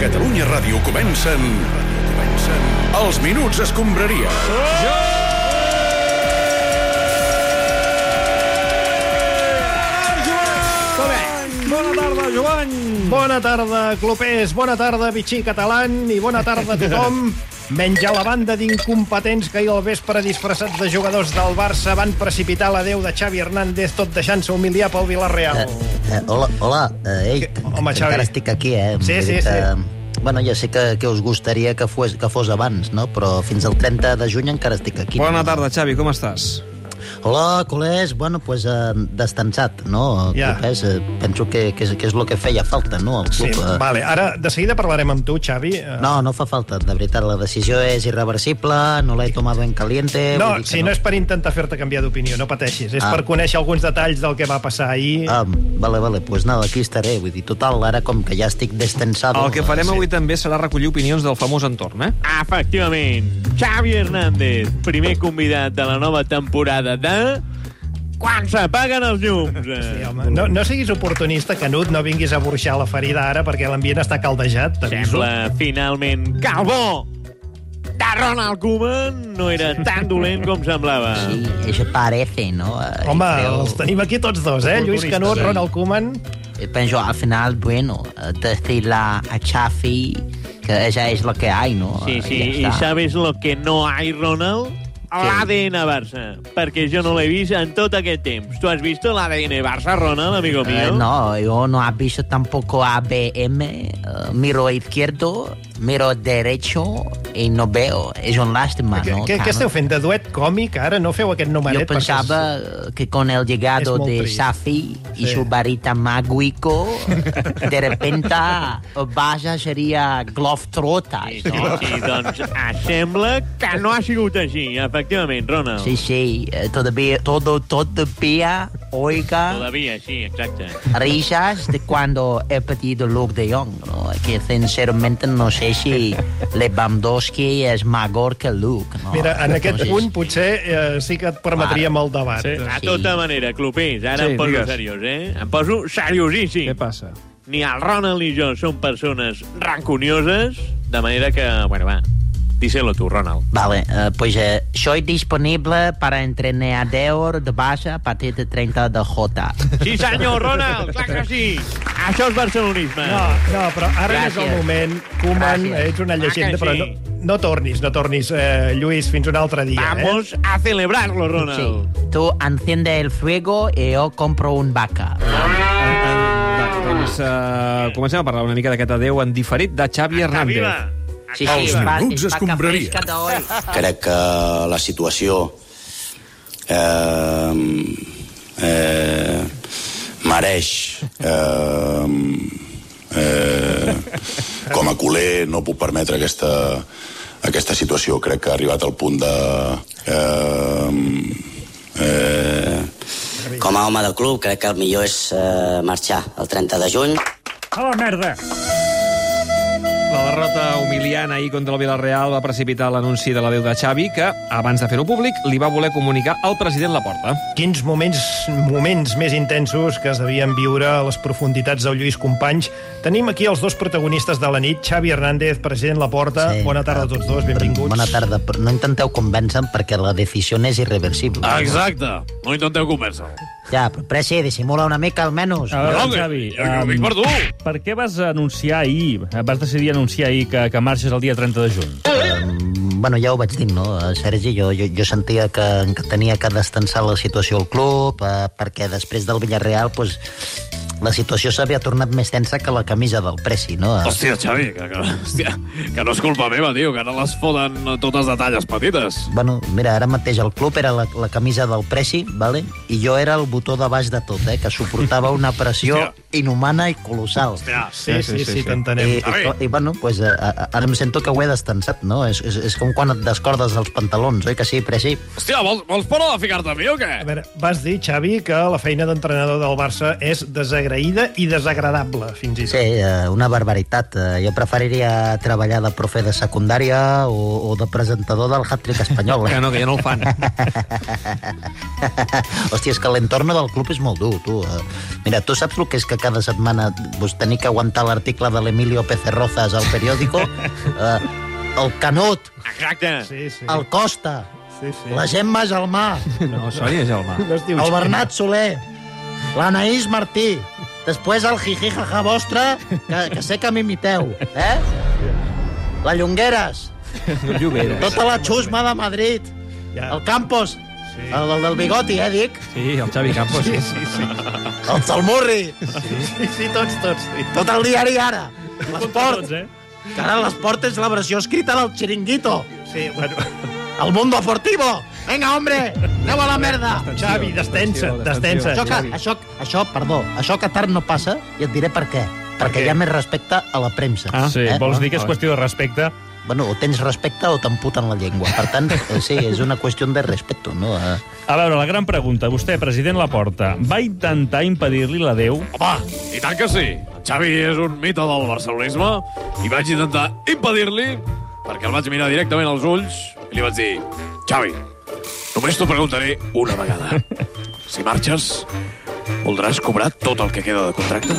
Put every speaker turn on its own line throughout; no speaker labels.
Catalunya Ràdio comencen... comencen... Els Minuts Escombraria.
Bona tarda, Joan!
Bona tarda, clubers, bona tarda, bitxí catalán i bona tarda a tothom. Menys a la banda d'incompetents que ahir al vespre disfressats de jugadors del Barça van precipitar l'adeu de Xavi Hernández tot deixant-se humiliar pel Villarreal.
Eh, hola, hola. Eh, ei,
Què? Home, Xavi.
encara estic aquí, eh?
Sí,
Vull
sí,
dir que,
sí.
Bueno, ja sé que, que us gustaria que fos, que fos abans, no? Però fins al 30 de juny encara estic aquí.
Bona tarda, Xavi, com estàs?
Hola, col·legs. Bueno, doncs pues, eh, destensat, no?
Ja.
Clubers, eh, penso que, que, és, que és el que feia falta, no? El
Sí,
club, eh,
vale. Ara, de seguida parlarem amb tu, Xavi. Eh,
No, no fa falta, de veritat. La decisió és irreversible, no l'he tomat ben caliente...
no,
eh, vull dir que
si no és per intentar fer-te canviar d'opinió, no pateixis. És
Ah.
per conèixer alguns detalls del que va passar ahir.
Ah, vale, vale, doncs pues nada, aquí estaré. Vull dir, total, ara com que ja estic destensado...
El que farem avui també serà recollir opinions del famós entorn, eh?
Efectivament, Xavi Hernández, primer convidat de la nova temporada de... Quan s'apaguen els llums!
Sí, Eh, home. No, no siguis oportunista, Canut, no vinguis a burxar la ferida ara perquè l'ambient està caldejat, t'aviso.
Sembla, finalment, que el bo de Ronald Koeman no era tan dolent com semblava.
Sí, això parece, no? Eh,
Home,
creo-
els tenim aquí tots dos, eh? Lluís Canut,
Sí.
Ronald Koeman...
Eh, Penso, al final, bueno, eh, destilar a Xafi, que ella és la que hay, no?
Sí,
Eh,
sí,
ja
i
està.
sabes lo que no hay, Ronald? L'ADN Barça, perquè jo no l'he vist en tot aquest temps. Tu has vist l'ADN Barça, Ronald, amigo mío?
Eh, no, yo no he visto tampoco a BM. eh, miro a izquierdo, miro a derecho y no veo. És un lástima,
Què,
no?
què,
Claro.
què esteu fent? De duet còmic, ara? No feu aquest numeret?
Yo pensaba eh, que con el llegado
pues, Es muy
de
triste.
Safi y
Sí.
su varita mágico, de repente Baja sería Globetrotters,
Sí,
¿no?
sí, doncs sembla que no ha sigut així, efectivament, Ronald.
Sí, sí, eh, todavía, todo, todavía, oiga,
Todavía, sí, exacte.
risas de cuando he pedido Luke de Jong, ¿no? Que sinceramente no sé si Lewandowski es mejor que Luke, ¿no?
Mira, en aquest
Entonces,
punt potser eh, sí que et permetríem el debat. Sí.
De
Sí.
tota manera, clubers, ara
Sí,
sí, em poso
digues.
seriós, eh? Em poso seriosíssim.
Què passa?
Ni el Ronald ni jo som persones rancunioses, de manera que, bueno, va, díselo tu, Ronald.
Vale, eh, pues eh, soy disponible para entrenador de base a partir de 30 de J.
Sí, senyor, Ronald, clar que sí. Això és barcelonisme.
No, no, però ara no és el
Gràcies.
moment. Koeman,
Gràcies.
ets una
Ah,
llegenda,
que
però
sí?
no, no tornis, no tornis, eh, Lluís, fins un altre dia. Eh?
Vamos a celebrarlo,
Sí.
Ronald.
Tú enciende el fuego y yo compro un vaca.
En, en, Eh, va, doncs uh, comencem a parlar una mica d'aquest adeu en diferit de Xavi Hernández.
Viva!
Sí,
Els
es va-
minuts
es vaca
escombraria.
fresca d'avui.
crec que la situació eh, eh, mereix eh, eh, com a culer no puc permetre aquesta, aquesta situació crec que ha arribat al punt de eh, eh,
Com a home del club, crec que el millor és eh, marxar el 30 de juny.
La derrota humiliant ahir contra el Villarreal va precipitar l'anunci de l'adeu de Xavi, que, abans de fer-ho públic, li va voler comunicar al president Laporta.
Quins moments, moments més intensos que es devien viure a les profunditats del Lluís Companys. Tenim aquí els dos protagonistes de la nit, Xavi Hernández, president La Porta.
Sí.
Bona tarda a tots dos, benvinguts.
Bona tarda, però no intenteu convèncer perquè la decisió és irreversible.
Exacte. No intenteu conversa.
Ja, però Preci, dissimula una mica almenys.
A veure,
Home,
Xavi,
jo que ho dic per tu.
per què vas anunciar ahir, vas decidir anunciar ahir que, que marxes el dia 30 de juny?
Mm, Bueno, ja ho vaig dir, no, eh, Sergi? Jo, jo, jo sentia que, que tenia que destensar la situació al club, eh, perquè després del Villarreal, pues, la situació s'havia tornat més tensa que la camisa del Preci, no? Eh,
Hòstia, Xavi, que, que, hòstia, que no és culpa meva, tio, que ara les foden totes de talles petites.
Bueno, mira, ara mateix el club era la, la camisa del Preci, vale? i jo era el botó de baix de tot, eh? que suportava una pressió
Hòstia.
inhumana i colossal.
Hòstia,
Sí, sí, sí, sí, sí t'entenem.
I, Eh, i,
Xavi.
i, bueno, pues, eh, a- ara em sento que ho he destensat, no? És, és, és com quan et descordes els pantalons, oi que sí, Preci?
hòstia vols, vols parar de ficar-te amb mi o
A
què?
veure, vas dir, Xavi, que la feina d'entrenador del Barça és desagraïda i desagradable, fins i
Sí,
tot.
eh, una barbaritat. Eh, Jo preferiria treballar de profe de secundària o, o de presentador del hat-trick espanyol.
Que no, que ja no el fan.
Hòstia, és que l'entorn del club és molt dur, tu. Eh, Mira, tu saps el que és que cada setmana pues, tenir que aguantar l'article de l'Emilio Pecerrozas al periòdico, eh, el Canut,
Exacte.
Sí,
Sí.
sí.
el Costa,
sí, sí.
la Gemma Gelmà,
No, Sònia Gelmà.
No es diu
el
Gemma.
Bernat Soler, l'Anaís Martí, després el jiji jaja vostre, que, que sé que m'imiteu, eh? La Llongueres,
No lloberes.
tota la xusma de Madrid,
Ja.
el Campos, el, el del bigoti, eh, dic,
Sí, el Xavi Campos. Sí, sí, sí.
el Salmurri,
Sí, sí, tots, tots. Sí.
tot el diari ara,
Tots,
l'esport,
eh?
que ara l'esport és la versió escrita del Chiringuito,
sí bueno.
el Mundo Deportivo, venga, hombre, aneu a la merda.
Xavi, destensa, destensa.
Això, que, això, això, perdó, això a Qatar no passa i et diré per què. Perquè
què?
hi ha més respecte a la premsa.
Ah, sí,
eh?
vols dir que és
Ah,
qüestió de respecte?
Bueno, o tens respecte o t'emputen la llengua. Per tant, eh, sí, és una qüestió de respecte, no? Eh,
A veure, la gran pregunta. Vostè, president Laporta, va intentar impedir-li l'adeu?
Home, i tant que sí. El Xavi és un mite del barcelonisme i vaig intentar impedir-li perquè el vaig mirar directament als ulls i li vaig dir Xavi, només t'ho preguntaré una vegada. Si marxes, voldràs cobrar tot el que queda de contracte?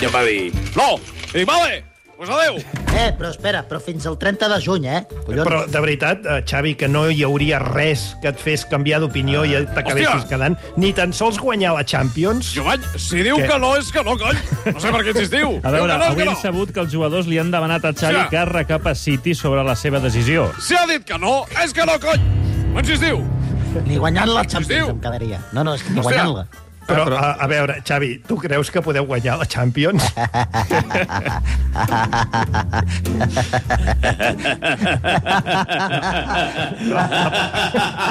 I em va dir, no! I dic, vale, doncs pues adeu!
eh però espera, però fins al 30 de juny, eh? Collons.
Però, de veritat, eh, Xavi, que no hi hauria res que et fes canviar d'opinió i t'acabessis
Hòstia!
quedant, ni tan sols guanyar la Champions.
Jovany, si diu
Què?
que no, és que no, cony! No sé per què insistiu!
A veure,
diu que
avui
no, és que
hem
no.
sabut que els jugadors li han demanat a Xavi
Sí.
que recapaciti sobre la seva decisió.
Si ha dit que no, és que no, cony! No insistiu!
Ni guanyant la
Diu.
Champions em quedaria. No, no, és que ni guanyant-la.
Però, a, a veure, Xavi, tu creus que podeu guanyar la Champions?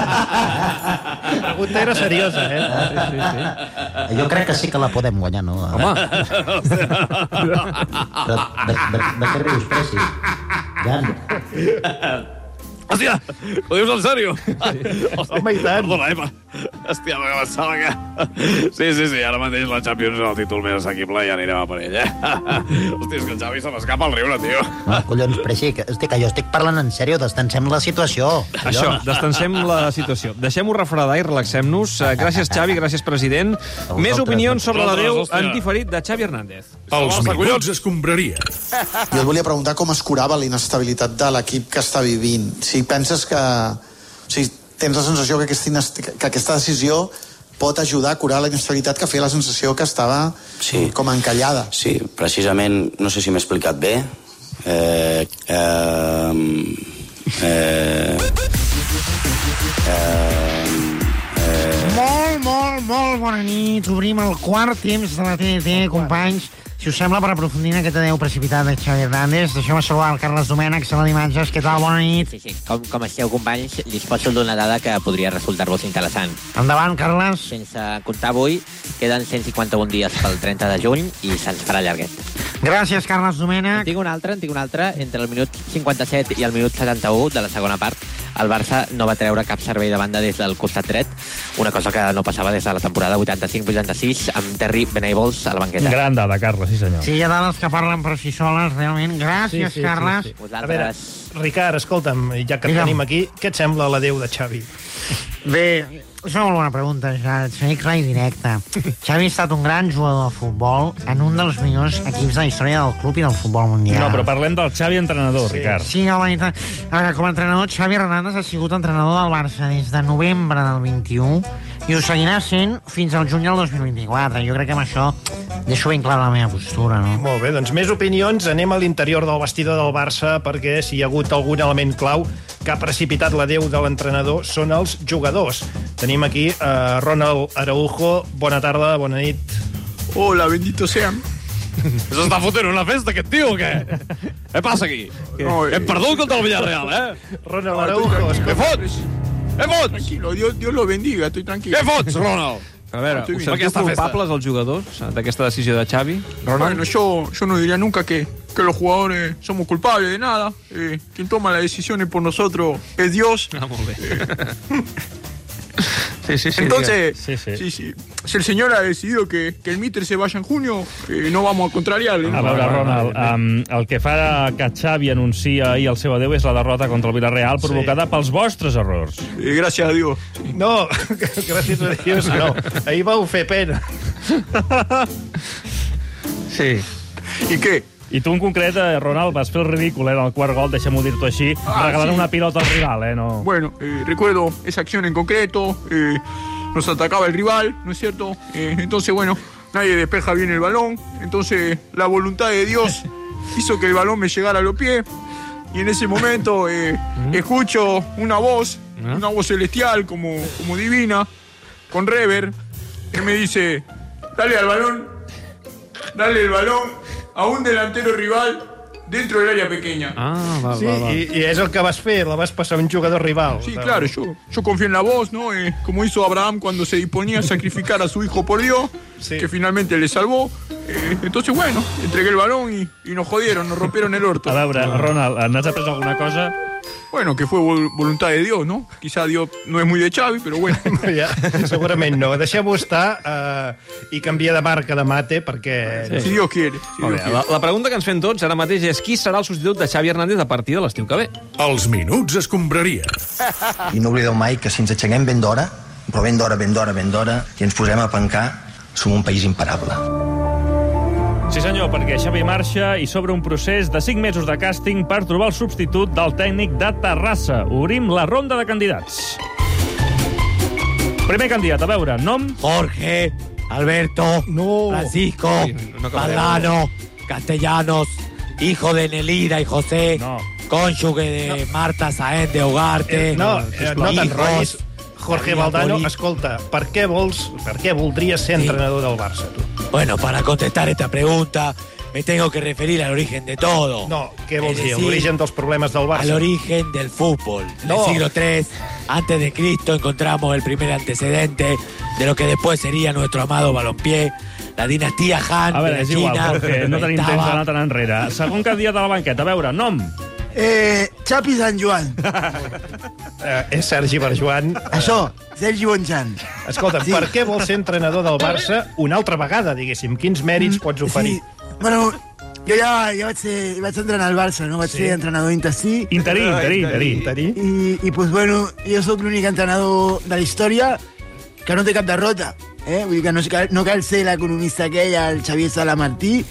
La pregunta era seriosa, eh?
Sí, sí.
Jo crec que sí que la podem guanyar, no? Home. Però de, de, de què rius, Preci? Ja, no.
Hòstia, ho dius en sèrio? Hòstia,
Home, i tant.
Perdona, eh? per- Hòstia, perquè pensava que... Sí, sí, sí, ara mateix la Champions és el títol més assequible i anirem a per ell, eh? Hòstia, és que el Xavi se m'escapa el riure, tio.
no collons, Preci, que, estic, que jo estic parlant en sèrio, destensem la situació.
Això, destensem la situació. Deixem-ho refredar i relaxem-nos. Eh, Gràcies, Xavi, gràcies, president. Més opinions sobre la Déu
Vosaltres, hòstia.
en diferit de Xavi Hernández.
Els
Home, collons.
minuts escombraria.
Jo et volia preguntar com es curava la inestabilitat de l'equip que està vivint. Si penses que... O sigui, tens la sensació que aquesta, inest... que aquesta decisió pot ajudar a curar la inestabilitat que feia la sensació que estava
Sí.
com encallada.
Sí, precisament, no sé si m'he explicat bé. Eh, eh, eh,
Molt, molt, molt bona nit. Obrim el quart temps de la TNT, companys. Si us sembla, per aprofundir en aquest adeu precipitat de Xavi Hernández, deixeu-me saludar el Carles Domènech, Sala d'Imatges. Què tal? Bona nit.
Sí, sí. Com, com esteu, companys, disposo d'una dada que podria resultar-vos interessant.
Endavant, Carles.
Sense comptar avui, queden 151 dies pel 30 de juny i se'ns farà llarguet.
Gràcies,
En
Carles
Ah.
Domènech.
tinc un altre, en tinc un altre. Entre el minut 57 i el minut 71 de la segona part, el Barça no va treure cap servei de banda des del costat dret, una cosa que no passava des de la temporada 85-86 amb Terry Venables a la banqueta.
Gran dada, Carles, sí senyor.
Sí, hi ha dades que parlen per si soles, realment. Gràcies,
Sí, sí, sí,
Carles.
sí. A veure,
Vosaltres...
Ricard, escolta'm, ja que et
Digue'm.
tenim aquí, què et sembla la Déu de Xavi?
Bé, és una molt bona pregunta, ja. Et seré clar i directe. Xavi ha estat un gran jugador de futbol en un dels millors equips de la història del club i del futbol mundial.
No, però parlem del Xavi entrenador, sí. Ricard.
Sí, home, i tant. A veure, com a entrenador, Xavi Hernández ha sigut entrenador del Barça des de novembre del 21 i ho seguirà sent fins al juny del 2024. Jo crec que amb això deixo ben clara la meva postura, no?
Molt bé, doncs més opinions. Anem a l'interior del vestidor del Barça perquè si hi ha hagut algun element clau que ha precipitat la Déu de l'entrenador són els jugadors. Tenim aquí eh, Ronald Araujo. Bona tarda, bona nit.
Hola, bendito sean.
S'està fotent una festa, aquest tio, o què? Què passa aquí?
No,
Hem perdut contra el Villarreal, eh?
Ronald Araujo,
Què
escolta.
fots? Què fots?
Dios, Dios lo bendiga, estoy tranquilo.
Què fots, Ronald?
A veure,
Estic
us
per
sentiu
aquesta festa.
culpables els jugadors eh, d'aquesta decisió de Xavi?
Bueno, yo, yo no diría nunca que, que los jugadores somos culpables de nada. Eh, quien toma las decisiones por nosotros es Dios.
Ah, molt bé. Sí, sí, sí.
Entonces,
Sí, sí.
sí, sí. si el señor ha decidido que, que el Mitre se vaya en junio, eh, no vamos a contrariarle.
A veure, Ronald, um, el que fa que Xavi anuncia ahir el seu adeu és la derrota contra el Villarreal provocada pels vostres errors.
Eh, gracias a Dios.
No, gràcies a Déu, no. Ahir vau fer pena.
Sí.
I què?
I tu en concret, eh, Ronald, vas fer el ridícul, eh, en el quart gol, deixa-m'ho dir-t'ho així, ah,
Ah,
regalant
sí.
una pilota al rival, eh, no...
Bueno, eh, recuerdo esa acción en concreto, eh, nos atacaba el rival, ¿no es cierto? Eh, entonces, bueno, nadie despeja bien el balón, entonces la voluntad de Dios hizo que el balón me llegara a los pies y en ese momento eh, escucho una voz, una voz celestial como, como divina, con rever, que me dice, dale al balón, dale el balón a un delantero rival dentro del área pequeña.
Ah,
va,
sí,
va, va.
I, I és el que vas fer, la vas passar a un jugador rival.
Sí, claro, yo, yo confío en la voz, ¿no? Eh, como hizo Abraham cuando se disponía a sacrificar a su hijo por Dios, que finalmente le salvó. Eh, entonces, bueno, entregué el balón y, y nos jodieron, nos rompieron el orto.
A veure, Ronald, n'has après alguna cosa?
Bueno, que fue vol- voluntad de Dios, ¿no? Quizá Dios no es muy de Xavi, pero bueno.
Ja, segurament no. Deixem-ho estar eh, i canvia de marca de mate perquè...
Sí.
Dios quiere.
A veure, la, la pregunta que ens fem tots ara mateix és qui serà el substitut de Xavi Hernández a partir de l'estiu que ve? Els minuts es compraria.
I no oblideu mai que si ens aixequem ben d'hora, però ben d'hora, ben d'hora, ben d'hora, i ens posem a pencar, som un país imparable.
Sí senyor, perquè Xavi marxa i s'obre un procés de 5 mesos de càsting per trobar el substitut del tècnic de Terrassa. Obrim la ronda de candidats. Primer candidat, a veure, nom...
Jorge, Alberto, Francisco, Valdano, Castellanos, hijo de Nelida y José, cónyuge de Marta Saén de Ugarte.
No, eh, no t'enrotllis.
hijos,
Jorge
María
Valdano,
Poli-
escolta, per què vols, per què voldries ser entrenador del Barça, tu?
Bueno, para contestar esta pregunta, me tengo que referir al origen de todo.
No, què
Es
vols dir?
decir,
Eh, L'origen dels problemes del Barça?
Al origen del fútbol.
No.
En el siglo III, antes de Cristo, encontramos el primer antecedente de lo que después sería nuestro amado balompié, la dinastía Han.
A
de
veure,
la
és igual,
China,
Jorge, no tenim temps
estaba-
d'anar tan enrere. Segon candidat de la banqueta, a veure, nom...
Eh, Xapi Sant Joan.
Eh, és Sergi Barjuan.
Això, Sergi Bonjan.
Escolta, sí. per què vols ser entrenador del Barça una altra vegada, diguéssim? Quins
Mm,
mèrits pots oferir? Sí.
Bueno, jo ja, ja vaig, ser, vaig entrenar al Barça, no? Vaig
Sí.
sí. ser entrenador interí.
Interí, interí, interí. Interí.
I, i pues, bueno, jo sóc l'únic entrenador de la història que no té cap derrota. Eh? Vull dir que no, cal- no cal ser l'economista aquella, el Xavier Salamartí,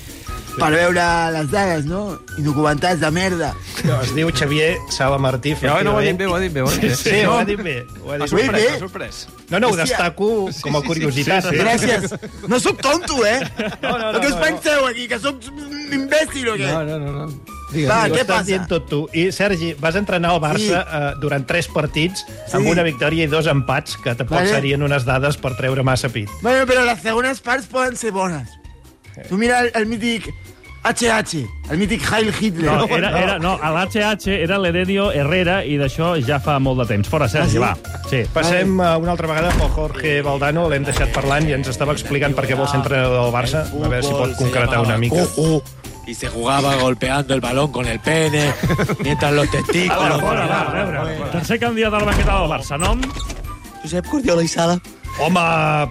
per veure les dades, no? Indocumentats de merda.
No, es diu Xavier Sala Martí.
Ja, no, ho ha dit bé, ho ha dit bé. Ho ha dit bé.
Sí, sí, ho ha dit bé. Ho ha
M'ha
dit
sorprès,
bé.
m'ha sorprès.
No, no, ho destaco com a curiositat.
Gràcies. No sóc tonto, eh?
No, no,
el que
no,
us
no.
penseu aquí, que sóc un imbècil o què?
No, no,
no. no.
Va,
Ho
Ah, què
estàs
passa?
dient tot tu. I, Sergi, vas entrenar al Barça
Sí.
sí. eh, durant tres partits sí. amb una victòria i dos empats, que tampoc
Vale.
vale. serien unes dades per treure massa pit.
Bueno, però les segones parts poden ser bones. Tu mira el, el mític HH, el mític Heil Hitler.
No, era, era, no, a l'HH era l'Heredio Herrera i d'això ja fa molt de temps. Fora,
Ah,
Sergi, va. Sí.
Passem eh, una altra vegada pel Jorge Valdano, l'hem deixat parlant i ens estava explicant per què vol ser entrenador del Barça. A veure si pot concretar una mica.
Juju, y se jugaba golpeando el balón con el pene, mientras los testículos.
Tercer candidat de la banqueta del Barça, nom...
Josep Cordiola i Sala. Home,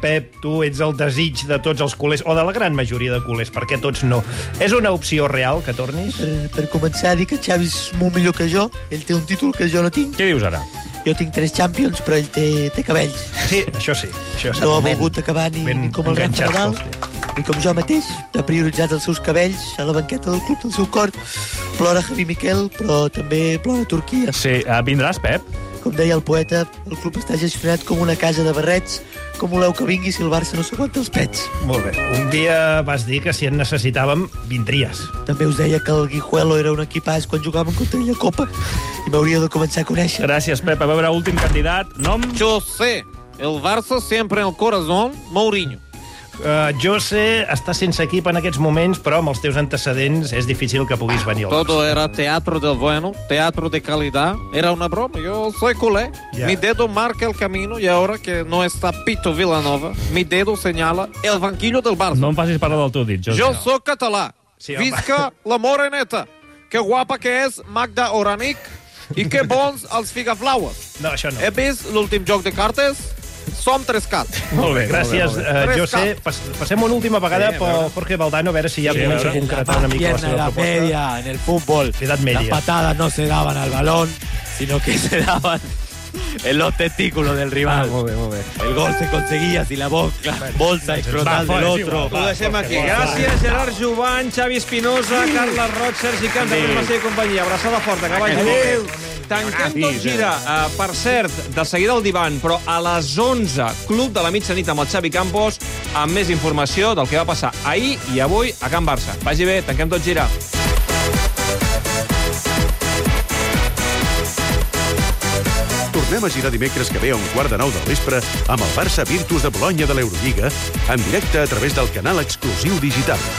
Pep, tu ets el desig de tots els culers, o de la gran majoria de culers, perquè tots no. És una opció real que tornis?
Per, per començar a dir que Xavi és molt millor que jo, ell té un títol que jo no tinc.
Què dius ara?
Jo tinc tres Champions, però ell té, té cabells.
Sí, això sí. Això
no ha volgut acabar ni, ni com el Rafa
enganxat,
Nadal, ni com jo mateix. Ha prioritzat els seus cabells a la banqueta del club del seu cor. Plora Javi Miquel, però també plora Turquia.
Sí, eh, vindràs, Pep?
Com deia el poeta, el club està gestionat com una casa de barrets. Com voleu que vingui si el Barça no s'aguanta els pets?
Molt bé. Un dia vas dir que si en necessitàvem, vindries.
També us deia que el Guijuelo era un equipàs quan jugàvem contra ella a Copa i m'hauria de començar a conèixer.
Gràcies, Pep. A veure, últim candidat, nom...
José, el Barça sempre en el corazón, Mourinho.
Uh, jo sé, està sense equip en aquests moments, però amb els teus antecedents és difícil que puguis venir al
Todo era teatro del bueno, teatro de calidad. Era una broma, yo soy culé.
Ya.
Mi dedo marca el camino y ahora que no está Pito Villanova, mi dedo señala el banquillo del Barça.
No em facis parlar del teu dit, José.
Yo soy catalá.
home.
Visca la moreneta. Que guapa que és Magda Oranic i que bons els figaflaues.
No,
Eh,
això no.
He vist l'últim joc de cartes. Som tres cats.
Molt bé, gràcies, eh, José. Pas, passem una última vegada
Sí, a
sí, per Jorge Valdano, a veure si ja
Sí,
sí,
a
comença a
veure.
concretar una mica la
Pierna
seva
la
proposta.
media en el fútbol.
L'edat
Las
media.
patadas no se daban al balón, sino que se daban en los testículos del rival. El gol se conseguía si la boca, bolsa escrotal del otro.
Ho deixem aquí. Gràcies, Gerard Jovan, Xavi Espinosa, Carles Roig, Sergi Camps, Andrés Macià i companyia. Abraçada forta, que vagi
Adéu.
molt bé. Tanquem tot gira. Uh, per cert, de seguida al divan, però a les 11, Club de la Mitjanit amb el Xavi Campos, amb més informació del que va passar ahir i avui a Can Barça. Vagi bé, tanquem tot gira.
Tornem a girar dimecres que ve a un quart de nou del vespre amb el Barça Virtus de Bologna de l'Eurolliga en directe a través del canal exclusiu digital.